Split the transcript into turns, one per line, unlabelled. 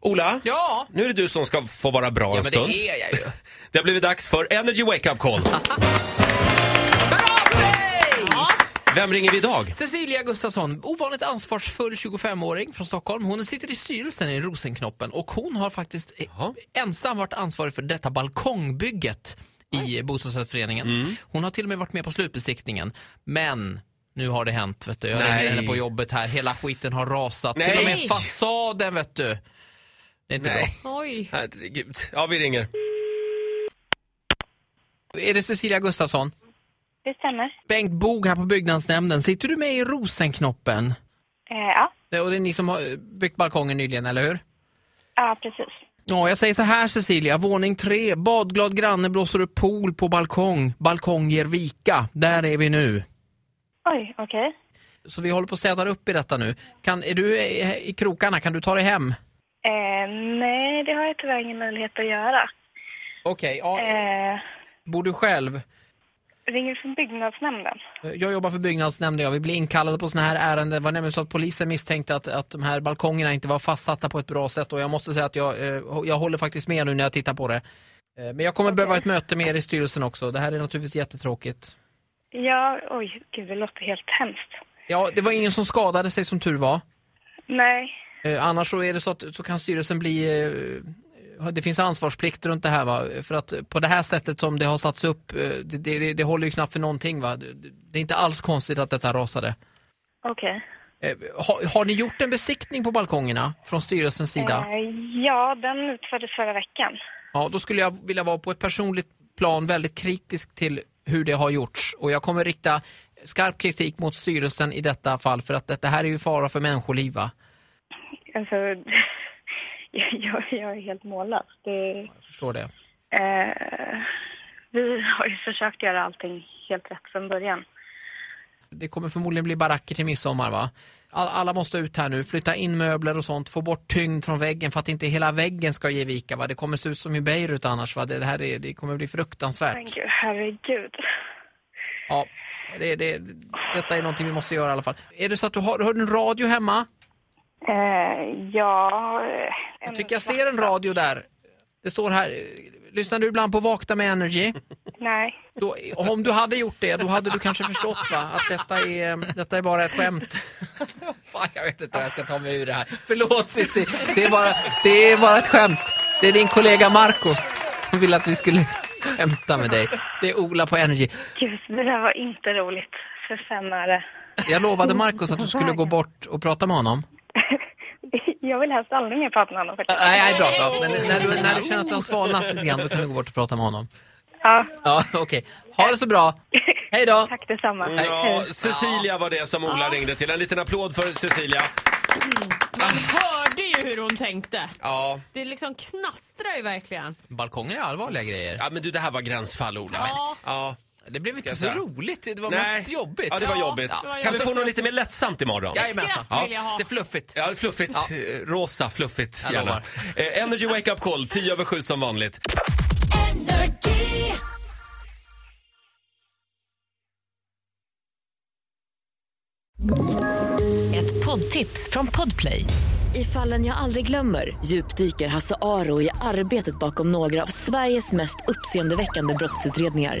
Ola,
Ja.
nu är det du som ska få vara bra
Ja,
en
men
stund.
det är jag ju.
Det har blivit dags för Energy Wake Up Call.
Bra för dig!
Vem ringer vi idag?
Cecilia Gustafsson, ovanligt ansvarsfull 25-åring från Stockholm. Hon sitter i styrelsen i Rosenknoppen och hon har faktiskt eh,
Jaha.
ensam varit ansvarig för detta balkongbygget i bostadsrättsföreningen.
Mm.
Hon har till och med varit med på slutbesiktningen. Men nu har det hänt, vet du. Jag
Nej.
ringde henne på jobbet här. Hela skiten har rasat. Till och
Nej.
med fasaden, vet du. Det är inte
Nej,
Oj.
herregud. Ja, vi ringer.
bra. Är det Cecilia Gustafsson?
Det stämmer.
Bengt Bog här på byggnadsnämnden. Sitter du med i Rosenknoppen?
Eh, ja.
Det- Och det är ni som har eh, byggt balkongen nyligen, eller hur?
ja, precis.
Ja, jag säger så här Cecilia, våning tre, badglad granne blåser upp pool på balkong, balkong ger vika, där är vi nu.
Oj, okej.
Så vi håller på att städa upp i detta nu. Kan, är du i, i krokarna, kan du ta dig hem?
Eh, nej, det har jag tyvärr ingen möjlighet att göra.
Okej, ja,
Eh,
bor du själv?
ringer du från byggnadsnämnden?
Eh, Jag jobbar för byggnadsnämnden, jag vill bli inkallad på sådana här ärenden. Det var nämligen så att polisen misstänkte att, att de här balkongerna inte var fastsatta på ett bra sätt och jag måste säga att jag, eh, jag håller faktiskt med nu när jag tittar på det. Eh, Men jag kommer behöva ett möte med er i styrelsen också. Det här är naturligtvis jättetråkigt.
Ja, oj, gud, det låter helt hemskt.
Ja, det var ingen som skadade sig som tur var.
Nej,
Eh, annars så är det så att så kan styrelsen bli... Eh, det finns ansvarsplikt runt det här va? För att på det här sättet som det har satts upp, eh, det, det, det- det håller ju knappt för någonting va? Det, det är inte alls konstigt att detta rasade.
okej.
Eh, har, har ni gjort en besiktning på balkongerna från styrelsens sida?
Eh, ja, den utfördes förra veckan.
Ja, då skulle jag vilja vara på ett personligt plan väldigt kritisk till hur det har gjorts. Och jag kommer rikta skarp kritik mot styrelsen i detta fall för att detta här är ju fara för människoliv va?
Alltså, jag, jag, jag är helt mållös. Det,
Jag förstår det.
eh, vi har ju försökt göra allting helt rätt från början.
Det kommer förmodligen bli baracker till midsommar va? All- Alla måste ut här nu, flytta in möbler och sånt, få bort tyngd från väggen för att inte hela väggen ska ge vika va? Det kommer se ut som i Beirut annars va? Det, det här är, det kommer bli
Men
fruktansvärt.
gud, herregud.
Ja, det, det, detta är någonting vi måste göra i alla fall. Är det så att du har, har du en radio hemma?
Eh, ja...
Jag tycker jag ser en radio där. Det står här, eh, lyssnar du ibland på Vakna med Energy?
Nej.
Då, om du hade gjort det, då hade du kanske förstått va? att detta är, detta är bara ett skämt. Fan, jag vet inte vad jag ska ta mig ur det här. Förlåt Cissi, det, är bara- det är bara ett skämt. Det är din kollega Marcos som ville att vi skulle skämta med dig. Det är Ola på Energy.
Gud, det där var inte roligt. För fem öre.
Jag lovade Marcos att du skulle gå bort och prata med honom.
Jag vill helst aldrig mer prata med honom faktiskt.
Nej, nej bra, bra. Men när du, när du känner att du har svalnat lite grann, då kan du gå bort och prata med honom.
Ja,
Ja, okej. Ha det så bra. Hej då.
tack detsamma.
Ja, Cecilia var det som Ola ringde till. En liten applåd för Cecilia.
Man hörde ju hur hon tänkte.
Ja,
Det liksom knastrar ju verkligen.
Balkonger är allvarliga grejer.
ja men du, det här var gränsfall, Ola.
Ja.
ja.
Det blev inte
Ska
så
jag säga?
roligt, det var
Nej.
mest jobbigt.
Ja, det var jobbigt.
Ja, det var
Kan vi
jobbigt.
få något lite mer lättsamt imorgon?
Jajamensan.
Skratt vill jag ha.
Det är fluffigt.
Ja, fluffigt. Eh, Rosa, fluffigt
Jag
gärna.
lovar.
Eh, Energy Wake Up Call, 10 över 7 som vanligt.
Ett poddtips från Podplay. I fallen jag aldrig glömmer djupdyker Hasse Aro i arbetet bakom några av Sveriges mest uppseendeväckande brottsutredningar.